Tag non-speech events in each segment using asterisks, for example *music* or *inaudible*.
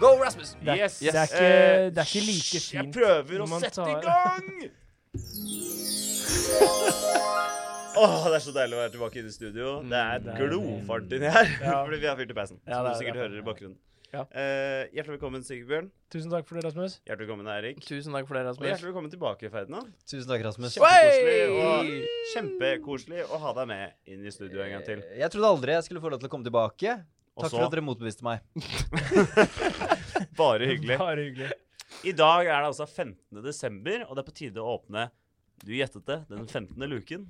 Go, Rasmus! Det er- Yes. det er ikke- Eh, det er ikke like hysj, Jeg fint prøver når å man sette tar- i gang! *laughs* Åh, Det er så deilig å være tilbake inne i studio. Det Mm, det er er- glofart inni her. Ja. *laughs* Fordi vi har fyrt i peisen. Ja, som det du er- sikkert det er- hører i bakgrunnen. Ja. Eh, hjertelig velkommen, Sigbjørn. Tusen takk for det, Rasmus. Hjertelig velkommen, Eirik. Tusen takk for det, Og Rasmus. hjertelig velkommen tilbake, Ferdinand. Tusen takk, Rasmus. Kjempekoselig og kjempekoselig å ha deg med inn i studio en gang til. Eh, Jeg trodde aldri jeg skulle få lov til å komme tilbake. Og Takk så- for at dere motbeviste meg. Bare hyggelig. *laughs* Bare hyggelig. I dag er det altså 15. desember, og det er på tide å åpne Du gjettet det, den 15. luken.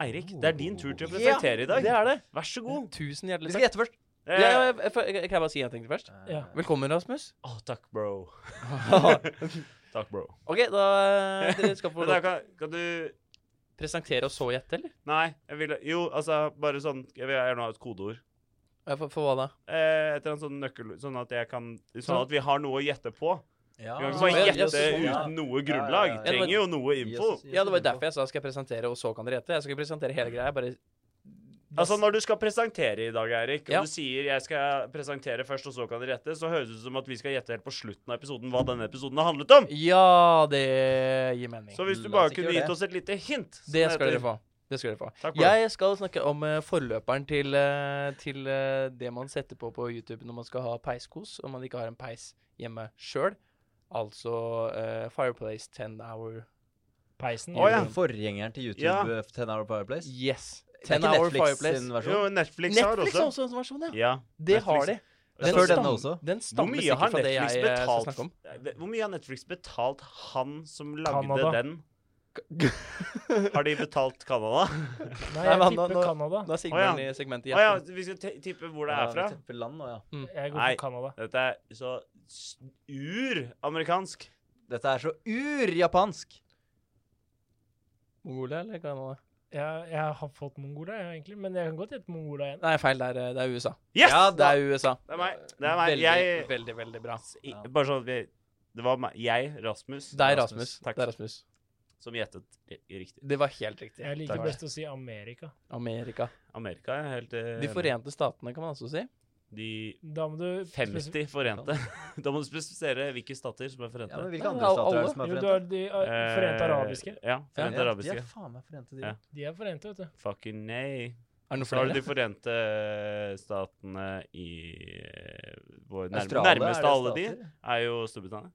Eirik, det er din tur til å presentere i dag. Det er det. Vær så god. Tusen Vi hjertelig skal takk. gjette først. Eh, Ja, ja, jeg, jeg, jeg, kan jeg bare si en ting til først? Ja. Velkommen, Rasmus. Å, takk, bro. takk, bro. OK, da eh, *laughs* Dere skal få Men da lov til kan, kan du å presentere og så gjette, eller? Nei, jeg vil Jo, altså, bare sånn Jeg vil gjerne ha et kodeord. Ja, For, for hva da? Eh, et eller annet sånn nøkkel... Sånn at jeg kan Sånn at vi har noe å gjette på. Ja. Vi kan ikke bare Ja, ja, gjette sånn, ja. uten noe grunnlag. Ja, ja, ja. Trenger jo noe info. Ja, det var jo derfor jeg sa skal jeg presentere, og så kan dere gjette. Jeg skal ikke presentere hele greia. jeg Bare Altså Når du skal presentere i dag, Erik, og Ja. du sier jeg skal presentere først, og så kan dere gjette, så høres det ut som at vi skal gjette helt på slutten av episoden hva denne episoden har handlet om. Ja, det gir mening. Så hvis du La bare oss ikke kunne gjøre gitt det. oss et lite hint som Det skal heter- dere få. Det skal dere få. Takk for Jeg skal snakke om eh, forløperen til, eh, til eh, det man setter på på YouTube når man skal ha peiskos, om man ikke har en peis hjemme sjøl. Altså eh, Fireplace 10 hour Peisen. Å, ja. Forgjengeren til YouTube Ja. eh, 10 Hour Fireplace. Yes. 10 Det er ikke hour Netflix fireplace. sin Jo, versjon. Netflix, har Netflix også. har også en versjon, ja. Ja. Det har de. Netflix. Jeg før denne stam- også. Den Hvor stammer mye sikkert har fra det jeg Netflix eh, skal snakke om. betalt Hvor mye har Netflix betalt han som lagde Canada. *laughs* den? Har de betalt Canada? Nei, Nei, jeg men tipper nå- Canada. Da er Sigbjørn Å, i segmentet Å ja, igjen. vi skal te- tippe hvor det er fra. Ja, for land, og ja. Jeg går Nei. for Canada. Dette er så s- uramerikansk. Dette er så ur-japansk. Mongolia eller Canada? Jeg, jeg har fått Mongolia, jeg, egentlig, men jeg kan godt hete Mongolia igjen. Nei, feil. Det er, eh, det er USA. Yes! Ja, Det er USA. Det er meg. Det er meg. Veldig, Jeg veldig, veldig bra. I, Bare sånn at vi Det var meg, jeg, Rasmus, Det er Rasmus. Rasmus. Takk. Det er Rasmus. som gjettet ri- riktig. Det var helt riktig. Jeg liker Takk. best å si Amerika. Amerika. Amerika er helt eh, De forente statene, kan man også si. De Da må du spesif- 50 forente. *laughs* da må du spesifisere hvilke stater som er Ja, forente. men Nei, Hvilke andre stater er alle. det som er Jo, du forente? har de eh, Forente arabiske. Eh, Ja. Forente Ja, arabiske. De er faen meg forente, de. Ja. De er forente, vet du. Fucking nei. Er det noe Så har du flere? De forente eh, statene i eh, vår nærme, Australia, er Nærmeste det av alle de stater? er jo Storbritannia.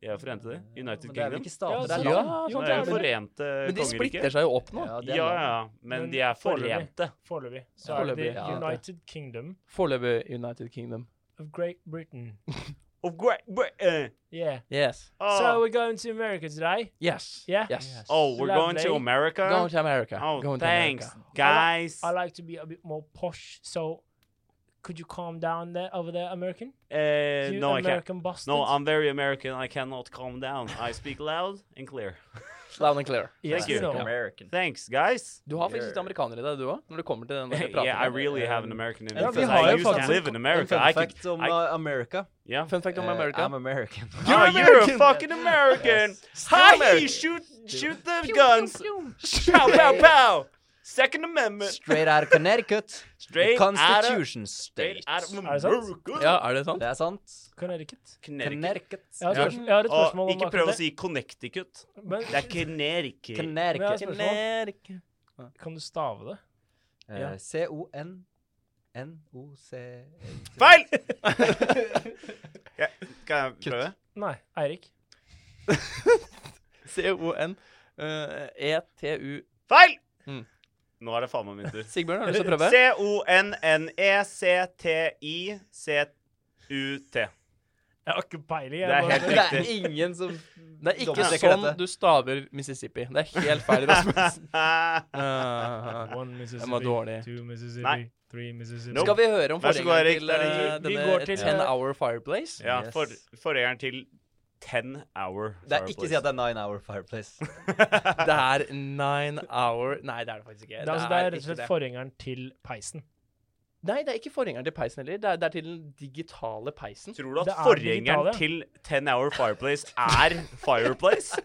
De er forente, de. United Men det er vel Kingdom. ikke stater, det Ja, er land. land. jo, Så er det jo er det. forente Men de kongeriker. splitter seg jo opp nå. Ja, det Ja, er land. ja, men Men de er foreløpig. forente. Foreløpig. Så er det Foreløpig, The ja, det. United Kingdom Foreløpig United Kingdom. of Great Britain. Of great, great, eh, Yeah. Yes. So oh, we're going to America today. Yes. Yeah. Yes. oh, we're going to lovely. America. Going to America. Oh, Going to thanks, America. guys. I like to be a bit more posh, so could you calm down there over there, American? Uh, You no, I can't. American bastard. No, I'm very American. I cannot calm down. I speak loud and clear. Loud and clear. Yes, Thank you. no. American. Thanks, guys. Du har faktisk litt amerikaner i deg, du òg, når det kommer *laughs* til den der praten. yeah, I der. really have an American in me Ja, vi because har I jo used to faktisk live in En America. fun I could, fact om I- uh, America. yeah. Fun fact om Eh, America. I'm American. Ah, you're a fucking American. Yes. Hi, American. shoot, shoot the guns. Pow, pow, pow. Second Amendment. Straight out of Connecticut. Straight The out of, Constitution State. straight out of Er det sant? America. Ja, er det *laughs* sant? Det er sant. Connecticut. Connecticut. Connecticut. Jeg har et Ja. spørsmål, jeg har et Og spørsmål om ikke akkurat prøv å det. si Connecticut. Men Det er Connecticut. Men Connecticut. jeg har et America. kan du stave det? Eh, C-O-N-N-O-C Feil! *laughs* ja, kan jeg prøve? Nei, Eirik. eh, E C-O-N-E-T-U Feil! Mm. Nå er det faen meg min *laughs* tur. Sigbjørn, har du lyst til å *laughs* prøve? E C-O-N-N-E-C-T-I-C-U-T. Jeg har ikke peiling. jeg Det er bare- helt Det er ingen som Det er ikke Dobbeltsjekker sånn dette. du staver Mississippi. Det er helt feil, *laughs* *laughs* Rasmus. Ah. One Den var Mississippi, dårlig. two Mississippi, Nei. three Mississippi. Nope. Skal vi høre om Vær så god, forgjengeren Erik. Det til er eh, din tur. Vi denne går til, 10 eh, Hour Fireplace? Ja, Yes. for, forgjengeren til 10 Hour Det er ikke si at det er Nine Hour Fireplace. Det er Nine Hour Nei, det er det faktisk ikke. Det er, altså, det er rett og ikke slett det. forgjengeren til peisen. Nei, det er ikke forgjengeren til peisen heller. Det er, det er til den digitale peisen. Tror du Det at er forgjengeren digitale. til 10 Hour Fireplace er *laughs* Fireplace?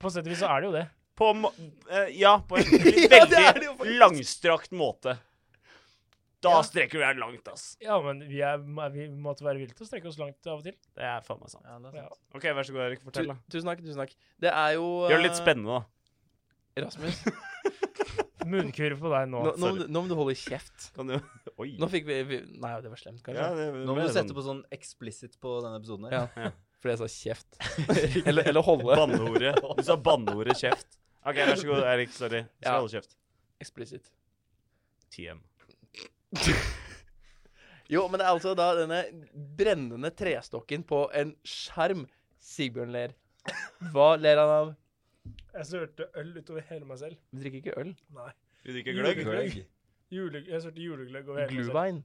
På sett og vis så er det jo det. På må- eh, *laughs* Ja, på en Ja, det er det jo veldig langstrakt måte. Da Ja. strekker vi deg langt, ass. Ja, men vi, er, vi måtte være villige til å strekke oss langt av og til. Det er faen meg sant. Ja, det er Ja. sant. OK, vær så god, Erik. Tu, Fortell, da. tusen takk, tusen takk. Det er jo Gjør det eh, litt spennende, da. Rasmus, Munnkurv på deg nå. nå, nå, må du- nå må du holde kjeft. Kan du Oi. Nå fikk vi, vi Nei, det var slemt, kanskje. Nå må du sette på sånn explicit på denne episoden her. Ja. Fordi jeg sa *laughs* kjeft. eller, eller holde. Banneordet. Du sa banneordet kjeft. OK, vær så god, Erik. Sorry. Jeg skal Ja. holde kjeft. Eksplisitt. TM. Jo, men det er altså da denne brennende trestokken på en skjerm Sigbjørn ler. Hva ler han av? Jeg sølte øl utover hele meg selv. Vi drikker ikke øl. Nei. Du drikker gløgg? Gløgg. Jule, jeg sølte julegløgg over hele meg selv. Glühwein.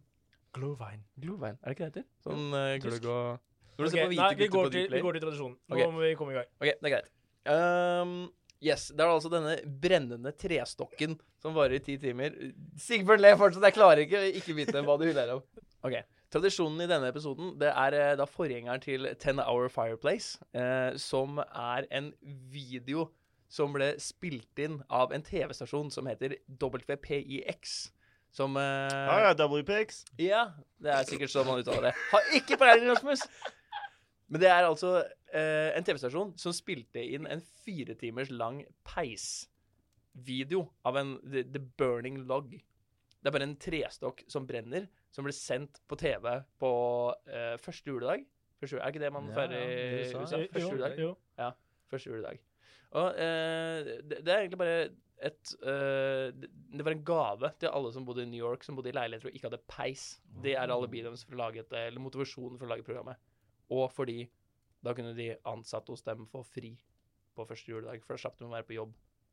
Glühwein. Glühwein, er det ikke det heter? Sånn eh, gløgg og Når du Ok, ser på hvite nei, vi gutter går, på til, vi Dplay går til tradisjonen. Nå Ok. må vi komme i gang. OK, det er greit. Ehm, yes, det er altså denne brennende trestokken som varer i ti timer. Sigbjørn ler fortsatt, jeg klarer ikke å ikke vite hva du ler av. OK. Tradisjonen i denne episoden det er eh, da forgjengeren til Ten Hour Fireplace, eh, som er en video som ble spilt inn av en TV-stasjon som heter WPIX. Som eh, Ah, Ja, ja, WPX. Ja, det er sikkert sånn man uttaler det. Har ikke peiling, Rasmus! Men det er altså eh, en TV-stasjon som spilte inn en fire timers lang peisvideo av en the, the Burning Log. Det er bare en trestokk som brenner, som ble sendt på TV på eh, første juledag. Første, jule- er ikke det man Ja, feirer ja, i det du sa. USA? Jo, Første juledag. jo. Første juledag. Og eh, det, det er egentlig bare et eh, det, det var en gave til alle som bodde i New York, som bodde i leiligheter og ikke hadde peis. Det er alibiet deres for å lage et, eller motivasjonen for å lage programmet. Og fordi da kunne de ansatte hos dem få fri på første juledag, for da slapp de å være på jobb.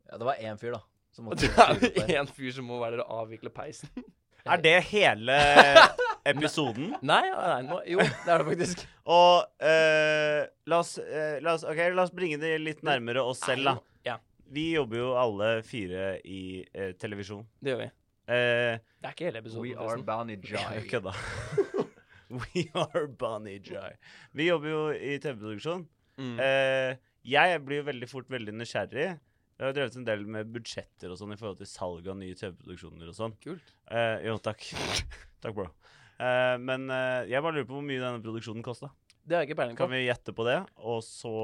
Ja, det var én fyr, da. Som Og *laughs* måtte det styre er opp der. jo én fyr som må være der og avvikle peisen. *laughs* Er det *laughs* hele episoden? Nei, nei, nå, jo, det er det faktisk. Og eh, la, oss, eh, la, oss, ok, la oss bringe det litt nærmere oss selv, da. Ja, Vi jobber jo alle fire i eh, televisjon. det gjør vi. Eh, Det er ikke hele We episoden. are forresten. bounty Jeg jive. *laughs* kødda. We are Bonnie Jai. Vi jobber jo i TV-produksjon. Mm. Eh, jeg blir jo veldig fort veldig nysgjerrig. Jeg har drevet en del med budsjetter og sånn i forhold til salg av nye TV-produksjoner og sånn. Kult. Eh, jo, takk. *laughs* takk, bro. Eh, men eh, jeg bare lurer på hvor mye denne produksjonen kosta. Det har jeg ikke peiling på. Kan vi gjette på det, og så,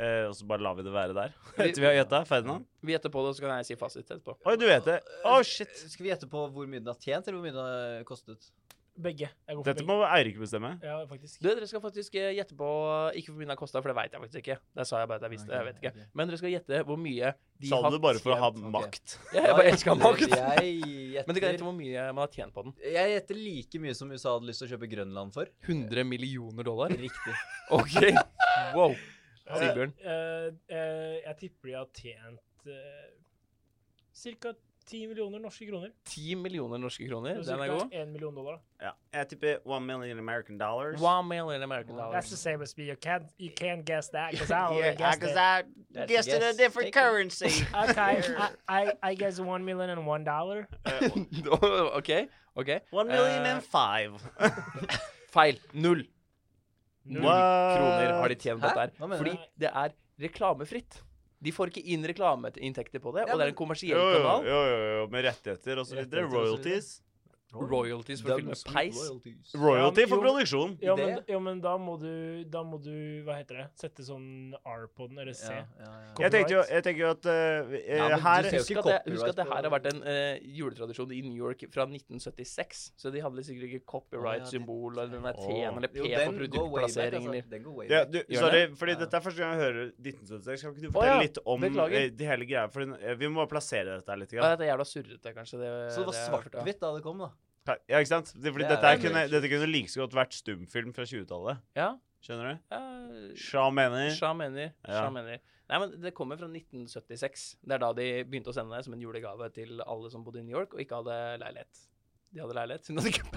eh, og så bare lar vi det være der? *laughs* Vi- Etter vi har gjetta? Ferdinand? Vi gjetter på det, og så kan jeg si fasit etterpå. Oi, du vet det. Å, shit. Skal vi gjette på hvor mye den har tjent, eller hvor mye den har kostet? Begge. Jeg går for Dette begge. må Eirik bestemme. Ja, faktisk. Du, dere skal faktisk eh, gjette på Ikke hvor mye den har kosta, for det veit jeg faktisk ikke. Det sa jeg bare at jeg visste. Jeg vet ikke. Ok, Men dere skal gjette hvor mye de Sa du har det bare for å ha tjent. makt? *laughs* Ja, jeg bare elsker makt. Jeg Men dere kan gjette gjetter hvor mye man har tjent på den. Jeg gjetter like mye som USA hadde lyst til å kjøpe Grønland for. 100 millioner dollar? Riktig. *laughs* OK. Wow. Sigbjørn. Eh, eh, jeg tipper de har tjent uh, ca. 10 millioner norske kroner. 10 millioner norske kroner. Den er Cirka god. 1 million dollar. Ja. Jeg tipper one million American dollars. One million American dollars. That's the same as me. You can't, you can't guess that. Cause I Yeah, already guessed because it. I That's a guessed it a guess. different Take it. currency. Okay, I, I, I guess 1 million and 1 dollar. *laughs* OK. ok One million and five. Feil. Null. Null Null kroner har de tjent på Hæ? dette Hva her. mener Fordi du? det er reklamefritt. De får ikke inn reklameinntekter på det, og Ja, det men- er en kommersiell Jo, jo, kanal. jo, jo, jo, med rettigheter og så videre. Rettigheter og så videre. Royalties. Royalties for å filme Dumb peis. royalties. Royalty Ja, men for jo. produksjon. Ja Det- men, ja, men da må du Da må du, hva heter det, sette sånn R på den, eller C. Ja, ja, ja. Jeg tenkte jo, jeg tenker jo at eh, Ja, men du her ser jo- Husk ikke at, det, husk copyright at det her på- har vært en eh, juletradisjon i New York fra 1976. Så de hadde sikkert ikke copyright-symbol eller den der Å. T-en eller P Jo, for den går way back, produktplassering. altså. eller- Den går way ja, back. du, Gjør Sorry, det? fordi Ja. dette er første gang jeg hører 1976. Kan ikke du ja. fortelle litt om Beklager. eh, de hele greia? For den- eh, vi må bare plassere dette her litt. Ja, Grann. dette er jævla surrete, kanskje. Det, Så det var det jeg har hørt, ja. svart-hvitt da det kom, da. Ja, ikke sant? Det- Fordi Det er dette, her jo kunne, helt sjukt. dette kunne like så godt vært stumfilm fra 20-tallet. Ja. Skjønner du? ja. Sja Eh. mener. Sja mener. Sja Ja. mener. Nei, men Det kommer fra 1976. Det er da de begynte å sende det som en julegave til alle som bodde i New York og ikke hadde leilighet. De hadde leilighet siden de hadde ikke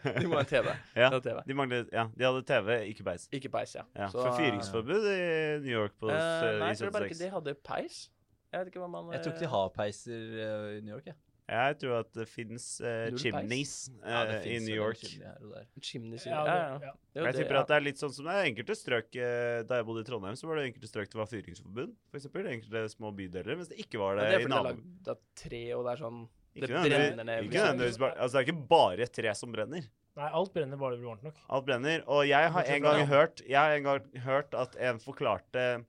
*laughs* peis. *laughs* de må ha en TV. Ja. De hadde TV. De manglet, ja, de hadde TV, ikke beis. Ikke peis, ja. Ja, Så- for fyringsforbud i New York på, Eh, uh, nei, i jeg tror bare ikke 76. de hadde peis. Jeg vet ikke hva man Jeg tror ikke de har peiser eh, i New York, jeg. Jeg tror at det fins eh, Null peis. chimneys Ja, eh, det i finnes New jo den York. kilden her og der. Chimney sier Ja, ja, det, ja. ja. Det er jo Jeg det, tipper ja. at det er litt sånn som det er enkelte strøk eh, Da jeg bodde i Trondheim, så var det enkelte strøk det var fyringsforbud. For eksempel, enkelte små bydeler, mens det ikke var Ja, det, det er i fordi det er naboen. lagd av tre, og det er sånn Det nødvendigvis- brenner ned. Ikke nødvendigvis bare, altså, det er ikke bare et tre som brenner. Nei, alt brenner bare det blir varmt nok. Alt brenner. Og jeg har en gang hørt, jeg har en gang hørt at en forklarte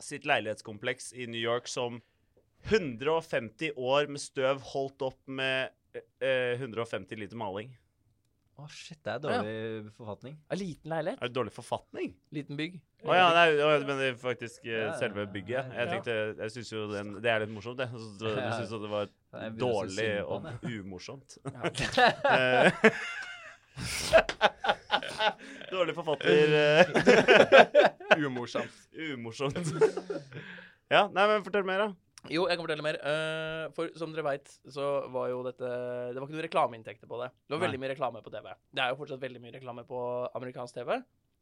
sitt leilighetskompleks i New York som 150 år med støv holdt opp med eh, 150 liter maling. Å, shit, det er dårlig forfatning. En liten leilighet? Er det dårlig forfatning? Liten bygg? Å ja, nei, å, jeg mener faktisk eh, Ja, selve bygget. Jeg ja. tenkte, jeg synes jo den, Det er litt morsomt, jeg. Så- så- Du Ja. syns at det var Jeg begynner å synes dårlig synd på og han, *laughs* umorsomt. *laughs* Eh, *laughs* Dårlig forfatter. *laughs* eh, Umorsomt. Umorsomt. Ja, nei, men fortell mer, da. Jo, jeg kan fortelle mer. Eh, for som dere veit, så var jo dette Det var ikke noen reklameinntekter på det. Det var Nei. veldig mye reklame på TV. Det er jo fortsatt veldig mye reklame på amerikansk TV.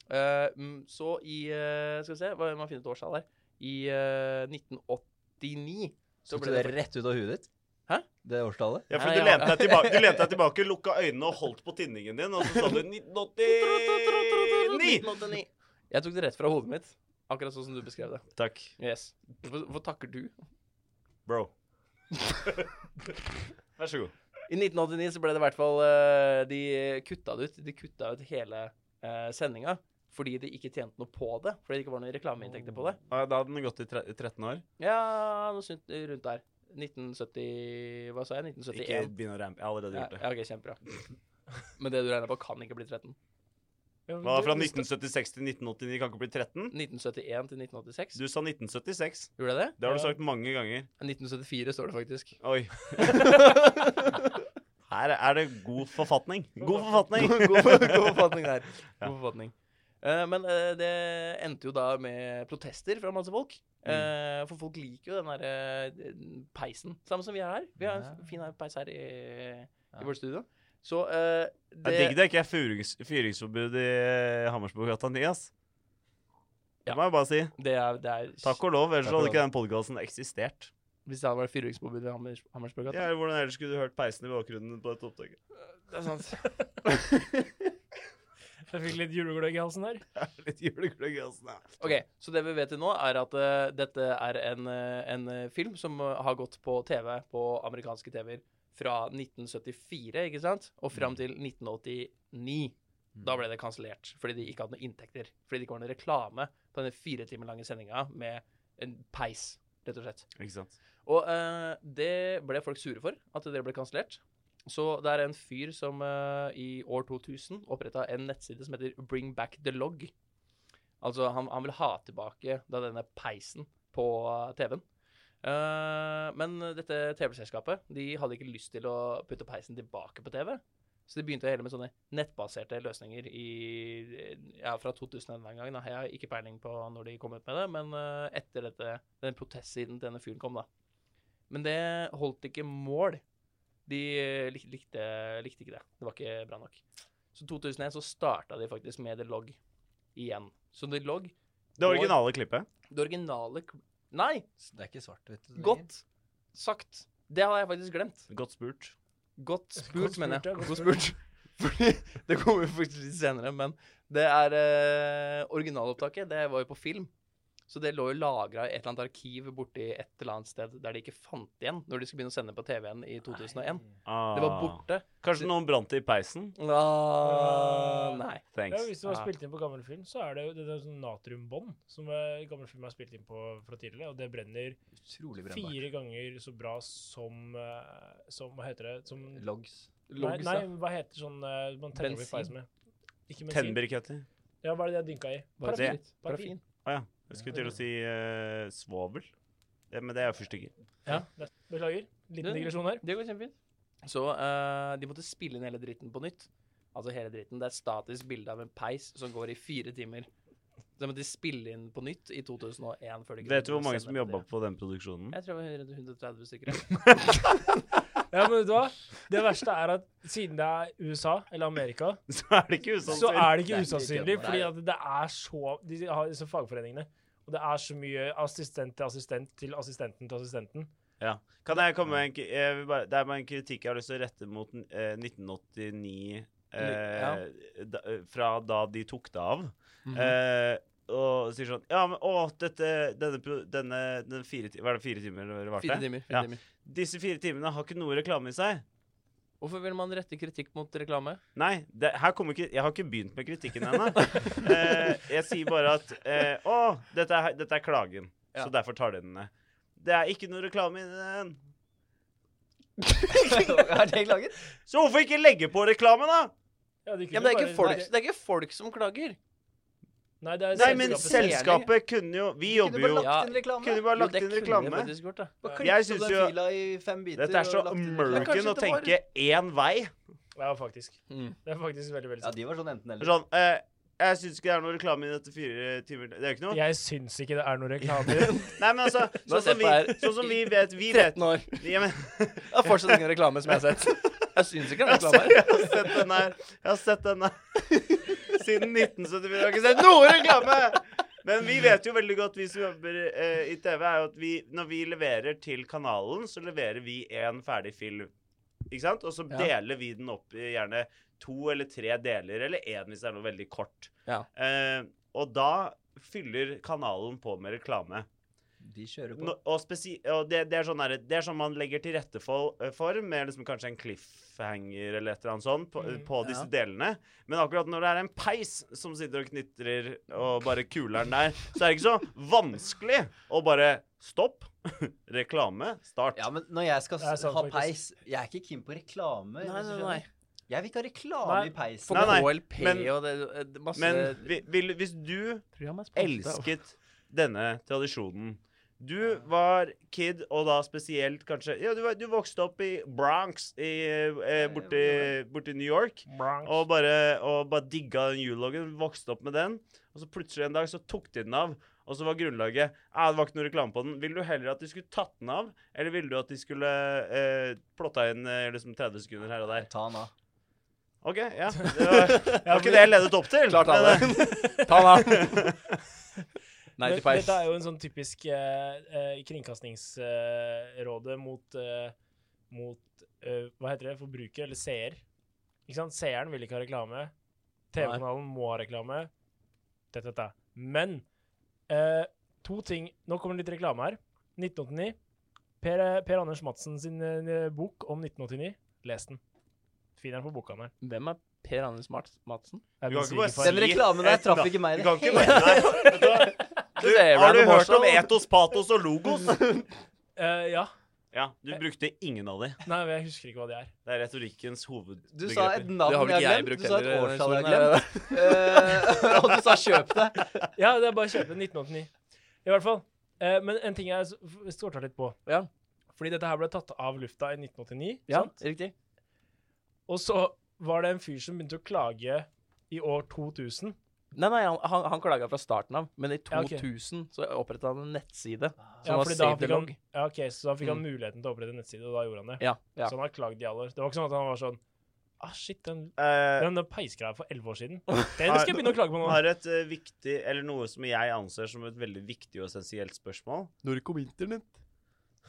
Eh, mm, så i eh, Skal vi se, hva- man finner et årstall her. I eh, 1989 så Tok ble du det det rett ut av huet ditt? Hæ? Det årstallet? Ja, for Nei, du, ja. lente deg tilbake, du lente deg tilbake, lukka øynene og holdt på tinningen din, og så sa du 1989! 1989. Jeg tok det rett fra hodet mitt. Akkurat sånn som du beskrev det. Takk, Yes. Hvorfor hvorfor takker du? bro. Vær så god. I 1989 så ble det i hvert fall eh, De kutta det ut. De kutta ut hele uh, sendinga fordi de ikke tjente noe på det. Fordi det ikke var noen reklameinntekter på det. Ja, Da hadde den gått i tre- 13 år. Ja, noe sunt rundt der. 1970 Hva sa jeg? Ikke 1971. begynn å rampe. Jeg har allerede Ja, gjort det. ja, OK, kjempebra. *laughs* Men det du regner på, kan ikke bli 13. Ja, men Hva det- Fra det skal- 1976 til 1989 kan ikke bli 13. 1971 til 1986. Du sa 1976. Gjorde jeg det? Det har du Ja. sagt mange ganger. 1974 står det faktisk. Oi. *laughs* Her er det god forfatning. God forfatning! god, god, *laughs* god forfatning der. Ja. God forfatning. Eh, men eh, det endte jo da med protester fra masse folk. Mm. Eh, for folk liker jo den der eh, peisen. Samme som vi har her. Vi har en Ja. f- fin peis her i, Ja. i vårt studio. Så eh, Det det er digg det ikke er fyrings, fyringsforbud i eh, Hammersborggata 9, ass. Det Ja. må jeg bare si. det er, det er Takk og lov, ellers Takk og hadde lov. ikke den podkasten eksistert. Hvis det hadde vært fyringsforbud ved Hammers, Hammersborggata. Ja, eller Hvordan ellers skulle du hørt peisen i bakgrunnen på dette opptaket? Det er sant. Jeg fikk litt julegløgg i halsen der. Litt julegløgg i halsen, ja. Ok, Så det vi vet til nå, er at eh, dette er en, eh, en eh, film som eh, har gått på TV, på amerikanske TV-er, fra 1974 ikke sant? og fram til 1989. Da ble det kansellert fordi de ikke hadde noen inntekter. Fordi det ikke var noen reklame på denne fire timer lange sendinga med en peis, rett og slett. Ikke sant. Og eh, det ble folk sure for, at det ble kansellert. Så det er en fyr som eh, i år 2000 oppretta en nettside som heter Bring Back the Log. Altså, han, han vil ha tilbake da denne peisen på eh, TV-en. Eh, men dette TV-selskapet de hadde ikke lyst til å putte peisen tilbake på TV. Så de begynte heller med sånne nettbaserte løsninger i, ja, fra 2000 en eller annen gang. Da. Jeg har ikke peiling på når de kom ut med det, men eh, etter dette, den protestsiden til denne fyren kom, da. Men det holdt ikke mål. De eh, lik- likte, likte ikke det. Det var ikke bra nok. Så 2001 så starta de faktisk med The Log igjen. Så The Log, Det originale klippet. det originale kl- Nei! Det er ikke svart-hvitt. lenger. Godt sagt. Det hadde jeg faktisk glemt. Godt spurt. Godt spurt, Godt spurt, mener jeg. ja, godt Godt spurt. *laughs* Fordi det kommer jo faktisk litt senere, men det er eh, originalopptaket. Det var jo på film. Så det lå jo lagra i et eller annet arkiv borti et eller annet sted der det ikke fant igjen når de skulle begynne å sende på TV-en i 2001. Ah. Det var borte. Kanskje noen brant det i peisen? Ah, nei. Ja, Thanks. Hvis du har Ja. spilt inn på gammel film, så er det jo det er sånn natriumbånd som eh, gammel film har spilt inn på fra tidligere, og det brenner Utrolig brennbart. fire ganger så bra som, eh, som Hva heter det? Som, Logs. nei, Logs, nei, da. hva heter sånn eh, man tenner opp i Bensin. peisen med? Ikke bensin. Tennbriketter. Ja, hva er det jeg dynka i? Bare det? fritt. Parafin. Å ja. Jeg skulle til å si eh, svovel. Det, men det er jo fyrstikker. Ja, det- Beklager. Liten Det- digresjon her. Det går kjempefint. Så eh, de måtte spille inn hele dritten på nytt. Altså hele dritten. Det er et statisk bilde av en peis som går i fire timer. Så de måtte spille inn på nytt i 2001. Før de kunne Vet du hvor mange sende som det på jobba det. på den produksjonen? Jeg tror det var 130 stykker. ja. Ja, men vet du hva? Det verste er at siden det er USA, eller Amerika, *laughs* Så er det ikke usannsynlig. Sånn så er det Det er ikke ikke usannsynlig, kødd. fordi at det er så De har disse fagforeningene. Og det er så mye assistent til assistent til assistenten til assistenten. Ja. Kan jeg komme med en, k- jeg vil bare, det er bare en kritikk jeg har lyst til å rette mot eh, 1989 eh, Ja. da, eh, Fra da de tok det av. Mhm. eh, og sier sånn Ja, men å, dette, denne, pro- denne, denne fire, ti- Hva er det, fire timer eller hva Fire det? timer. Ja. Fire timer. Disse fire timene har ikke noe reklame i seg. Hvorfor vil man rette kritikk mot reklame? *laughs* Nei, det, her kommer ikke Jeg har ikke begynt med kritikken ennå. *laughs* eh, jeg sier bare at eh, Å, dette er, dette er klagen. Ja. Så derfor tar de den ned. Det er ikke noe reklame i den. er det klagen? Så hvorfor ikke legge på reklame, da? de kunne Ja, men det er, ikke bare- folk, det er ikke folk som klager. Nei, det er Nei, men selskapet selv. selskapet kunne jo Vi jobber jo Ja. inn reklame. Kunne bare Jo, lagt det inn kunne jeg reklame. faktisk gjort, da. Bare Jeg klipp synes opp jo- den fila i fem biter. Dette er så og lagt inn reklame. kanskje American å det var- tenke én vei. Ja, faktisk. Det er faktisk veldig, veldig Ja, sant. de var sånn enten eller. Sånn, eh, jeg syns ikke det er noe reklame i dette fire timer Det er jo ikke noe. Jeg syns ikke det er noen *laughs* reklamer. Nei, men altså, Nå sånn som, ser jeg på vi, her. sånn som vi vet Vi vet 13 år. ja, men, *laughs* Det er fortsatt ingen reklame som jeg har sett. Jeg syns ikke det er altså, reklame. Jeg har sett den her. Jeg har sett den her siden 1974. Jeg har ikke sett noe *laughs* reklame! Men vi vet jo veldig godt, vi som jobber eh, i TV, er jo at vi, når vi leverer til kanalen, så leverer vi en ferdig film. Ikke sant? Og så Ja. deler vi den opp i gjerne to eller tre deler, eller én hvis det er noe veldig kort. Ja. Eh, og da fyller kanalen på med reklame. sånn- De kjører på. No, og spesi og det, det, er sånn der, det er sånn man legger til rette for, for med liksom kanskje en cliffhanger eller et eller annet sånt på, Mm, på disse delene. Men akkurat når det er en peis som sitter og knitrer og bare kuler den der, så er det ikke så vanskelig å bare stopp, *laughs* reklame, start. Ja, men når jeg skal Det er s- sant, ha faktisk. peis Jeg er ikke keen på reklame. Nei, hvis du nei, skjønner. nei. Jeg vil ikke ha reklame Nei. i peisen. For Nei, nei, KLP men- og det, det masse Men vi, vil, hvis du Program er sponset av- elsket denne tradisjonen. Du var kid, og da spesielt kanskje Ja, du, var, du vokste opp i Bronx i, eh, borti, borti New York. Og bare, og bare digga den juleloggen. Vokste opp med den. Og så plutselig en dag så tok de den av. Og så var grunnlaget Ja, det var ikke noe reklame på den. Vil du heller at de skulle tatt den av, eller ville du at de skulle eh, plotta inn eh, liksom 30 sekunder her og der? Ta den av. OK, ja. *laughs* Det var, det var ikke det jeg ledet opp til. Klart han men, eh, det. Ta den *laughs* av. Nei Men til peis. Dette er jo en sånn typisk eh, eh, Kringkastingsrådet mot, eh, mot eh, Hva heter det? Forbruker, eller seer. Ikke sant? Seeren vil ikke ha reklame. TV-kanalen må ha reklame. Dette, dette. Men eh, to ting Nå kommer det litt reklame her. 1989. Per, eh, per Anders Madsen sin eh, bok om 1989. Les den. Finn den på bokhandelen. Hvem er Per Anders Mats- Madsen? Det er Du min kan ikke bare svigerfar. si- Den reklamen der et traff navn. ikke meg i Du det kan ikke hele bare Nei, vet du hva? *laughs* Du, Det er har du Random hørt om Marshall. etos, patos og *laughs* logos? Eh, ja. Ja, du brukte ingen av de. Nei, men jeg husker ikke hva det er. Det er retorikkens Du sa hovedbegreper. et Det har navn vel jeg ikke har jeg glemt. brukt Du sa et heller, sånn denne årstall jeg har historien her. glemt. *laughs* Eh, og du sa 'kjøp det'. Ja, det er bare å kjøpe 1989. I hvert fall. Eh, men en ting jeg s- f- storta litt på. Ja. Fordi dette her ble tatt av lufta i 1989. *laughs* Ja, Sant? riktig. Og så var det en fyr som begynte å klage i år 2000. Nei, nei, han, han, han klaga fra starten av, men i Ja, ok. Ah. 2000 så oppretta han en nettside Ah. som Ja, var fordi da Save the fikk han- Log. Ja, ok, Så da fikk han muligheten til å opprette en nettside, og da gjorde han det. Ja, ja. Så han har klagd i alle år. Det var ikke sånn at han var sånn Ah, shit, den, Eh, den peisgreia for 11 år *laughs* siden. Den skal jeg begynne å klage på Han nå. har et eh, viktig, eller noe som jeg anser som et veldig viktig og essensielt spørsmål. Når kom internett?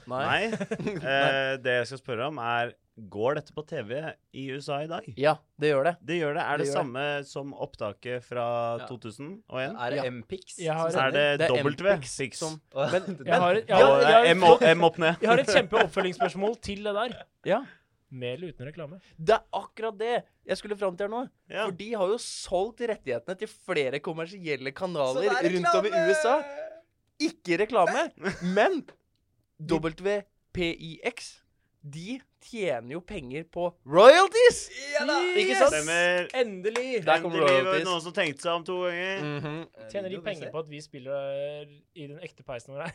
Nei. Nei. Eh, det jeg skal spørre om, er Går dette på TV i USA i dag? Ja, det gjør det. Det gjør det. Er det, Det gjør det. samme som opptaket fra Ja. 2001? Er Ja. det M-Pix? Jeg har- som Er sender? det, Det er W? M-Pix Six? som- Å, Men- den- Jeg har, et- jeg Ja, har, jeg eh, har, M, opp- M opp ned. jeg har et kjempeoppfølgingsspørsmål til det der. Ja. Med eller uten reklame? Det er akkurat det jeg skulle fram til her nå. Ja. For de har jo solgt rettighetene til flere kommersielle kanaler Så det er rundt om i reklame! USA. Ikke *laughs* reklame, men WPIX de tjener jo penger på royalties! Ja da! Ikke Yes! sant? Stemmer. Endelig! Der Endelig kommer var det royalties. noen som tenkte seg om to ganger. Mhm. Tjener de Eh, Video, vi penger ser. på at vi spiller eh, i den ekte peisen vår?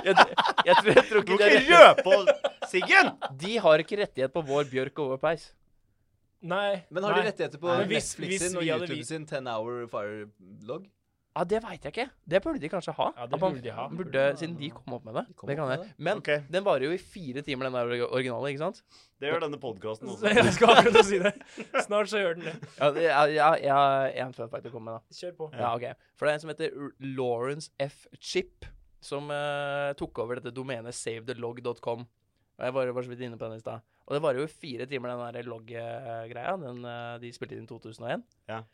jeg, jeg, tror, jeg Du tror ikke må det ikke er røpe oss, Siggen! *laughs* De har ikke rettighet på vår bjørk og vår peis. *laughs* Nei. Men har de nei. rettigheter på Men hvis- Netflix hvis sin og vi hadde YouTube vi- sin 10 Hour Fire-logg? Ja, Det veit jeg ikke. Det burde de kanskje ha. Ja, det At man burde de ha. *laughs* Burde, siden de kom opp med det. De kom det opp kan med jeg. det. Men Ok. den varer jo i fire timer, den der originale, ikke sant? Det gjør denne podkasten også. *laughs* Jeg skal akkurat å si det. Snart så gjør den det. Ja, det- ja, ja, jeg har en fun fact å komme med, da. Kjør på. Ja, ok. For det er en som heter R- Lawrence F. Chip, som eh, tok over dette domenet savethelog.com. Og jeg var jo bare så vidt inne på den i stad. Og det varer jo i fire timer, den der log-greia. Den eh, de spilte inn i 2001. Ja. Mhm.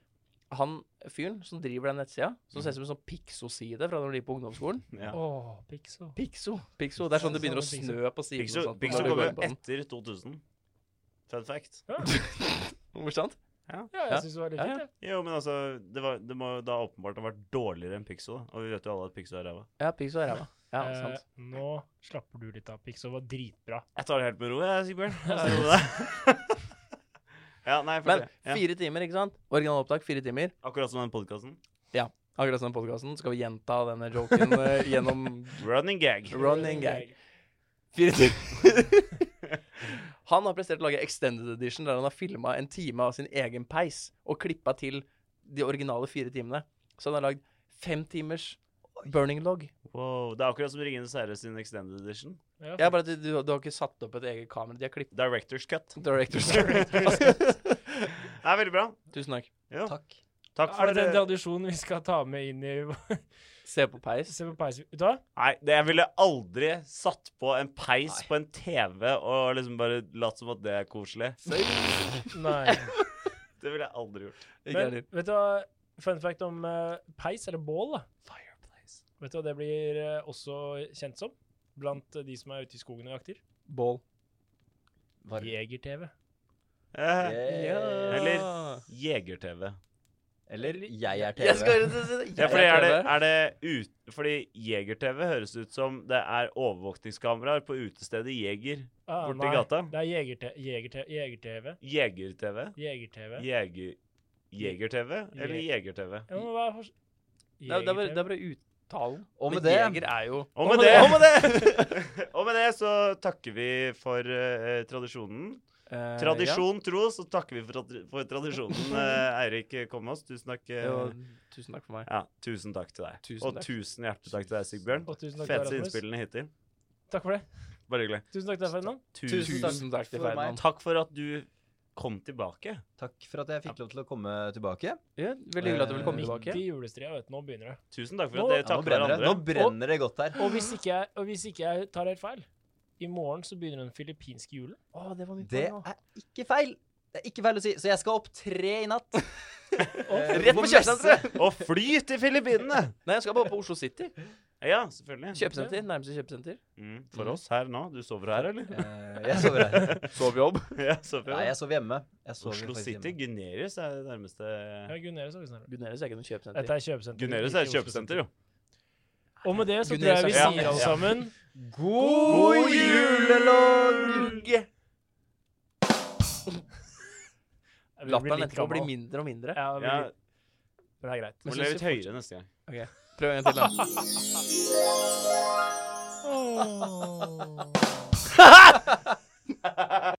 han fyren som driver den nettsida, som ser ut som en sånn Pixo-side fra når de gikk på ungdomsskolen Ja. Åh, Pixo. Pixo. Pixo. Det er sånn det begynner å Pixo. snø på siden. Pixo, og sånt, Pixo når du går kommer inn på den. etter 2000. Fun fact. *laughs* Hvor sant? Ja, jeg Ja. syns det var litt Ja, fint, ja. jeg. Jo, men altså, det, var, det må jo da åpenbart ha vært dårligere enn Pixo, da. Og vi vet jo alle at Pixo er ræva. Ja, Pixo er ræva. Ja, Eh, sant. nå slapper du litt av. Pixo var dritbra. Jeg tar det helt med ro, jeg, Sigbjørn. Jeg sier det deg. *laughs* ja, nei, for Men det. Ja. fire timer, ikke sant? Originalopptak fire timer. Akkurat som den podkasten. Akkurat som podkasten skal vi gjenta denne *laughs* joken eh, gjennom Running gag. running gag. Fire *laughs* *laughs* timer. han har prestert å lage extended edition der han har filma en time av sin egen peis og klippa til de originale fire timene. Så han har lagd fem timers burning log. Wow, Det er akkurat som Ringenes herre sin extended edition. Ja, Ja, bare at du, du, du har ikke satt opp et eget kamera. De har klippet Directors cut. *laughs* *laughs* Directors. Det er veldig bra. Tusen takk. Jo, Takk. takk er for eh, det den det. tradisjonen vi skal ta med inn i *laughs* Se på peis. Se på peis. Vet du hva? Nei, det, jeg ville aldri satt på en peis Nei. på en TV og liksom bare latt som at det er koselig. Nei. Det ville jeg aldri gjort. Ikke Men, heller. vet du hva? Fun fact om eh, peis, eller bål, da. Fireplace. Vet du hva det blir eh, også kjent som blant eh, de som er ute i skogen og jakter? Bål. Jeger-TV. Eh, Yeah. Eller Jeger-TV. Eller jeg er TV. Jeg skal rett og slett si- Ja, fordi, Jeg er det, prøver. er det ut, fordi Jeger-TV høres ut som det er overvåkningskameraer på utestedet Jeger Ah, borti nei, gata. Det er Jeger-TV. Jeger-TV. Jeger-TV? Jeger-TV. Jeger... Jeger-TV eller Jeger-TV? Ja, men hva er fors- Det er- det er bare- det Jeger-TV? er bare uttalen. Og med Men det Jeger er jo Og med det, og med *laughs* det, og med det så takker vi for eh, tradisjonen. eh, Tradisjon tro, så takker vi for, tra- for tradisjonen. eh, Eirik Komås, tusen takk. eh, ja. Jo, Tusen takk for meg. ja, tusen takk til deg. Tusen og takk. tusen hjertelig takk til deg, Sigbjørn. Og tusen takk til Feteste Rasmus. innspillene hittil. Takk for det. Bare hyggelig. Tusen takk til deg, Ferdinand. Tusen takk Tusen takk til for meg. Ferdinand. Takk for at du kom tilbake. Takk for at jeg fikk lov til å komme tilbake. Ja, veldig hyggelig at du vil komme Eh, tilbake. Midt i julestria, vet du. Nå begynner det. Tusen takk for at Nå- dere Ja, nå, takker brenner det. nå hverandre. brenner det godt her. Og hvis ikke jeg, og hvis ikke jeg tar helt feil, i morgen så begynner den filippinske julen. Å, det var mitt Det poeng, da. er ikke feil. Det er ikke feil å si. Så jeg skal opp tre i natt. Eh, Rett på kjøpesenteret! *laughs* Og fly til Filippinene! Nei, jeg skal bare på Oslo City. Ja, selvfølgelig. Kjøpesenter. Nærmeste kjøpesenter. Mm, for oss her nå. Du sover her, *laughs* eller? Eh, Jeg sover her. Sovejobb. Ja, sover Nei, her. jeg sover hjemme. Jeg sover Oslo faktisk City. hjemme. Gunerius er det nærmeste Ja, Gunerius er vi snarere. Gunerius er ikke noe kjøpesenter. Dette er kjøpesenter. Gunerius ikke er et Oslo kjøpesenter, jo. Og med det så tror Gunerius jeg vi er- sier Ja. alle sammen God julelogg! Jeg begynner å bli Latteren litt etterpå blir gammel. mindre og mindre. Ja, jeg blir Ja, litt- men det er greit. Men må synes leve vi litt høyere neste gang. Prøv en gang til. da. Åh.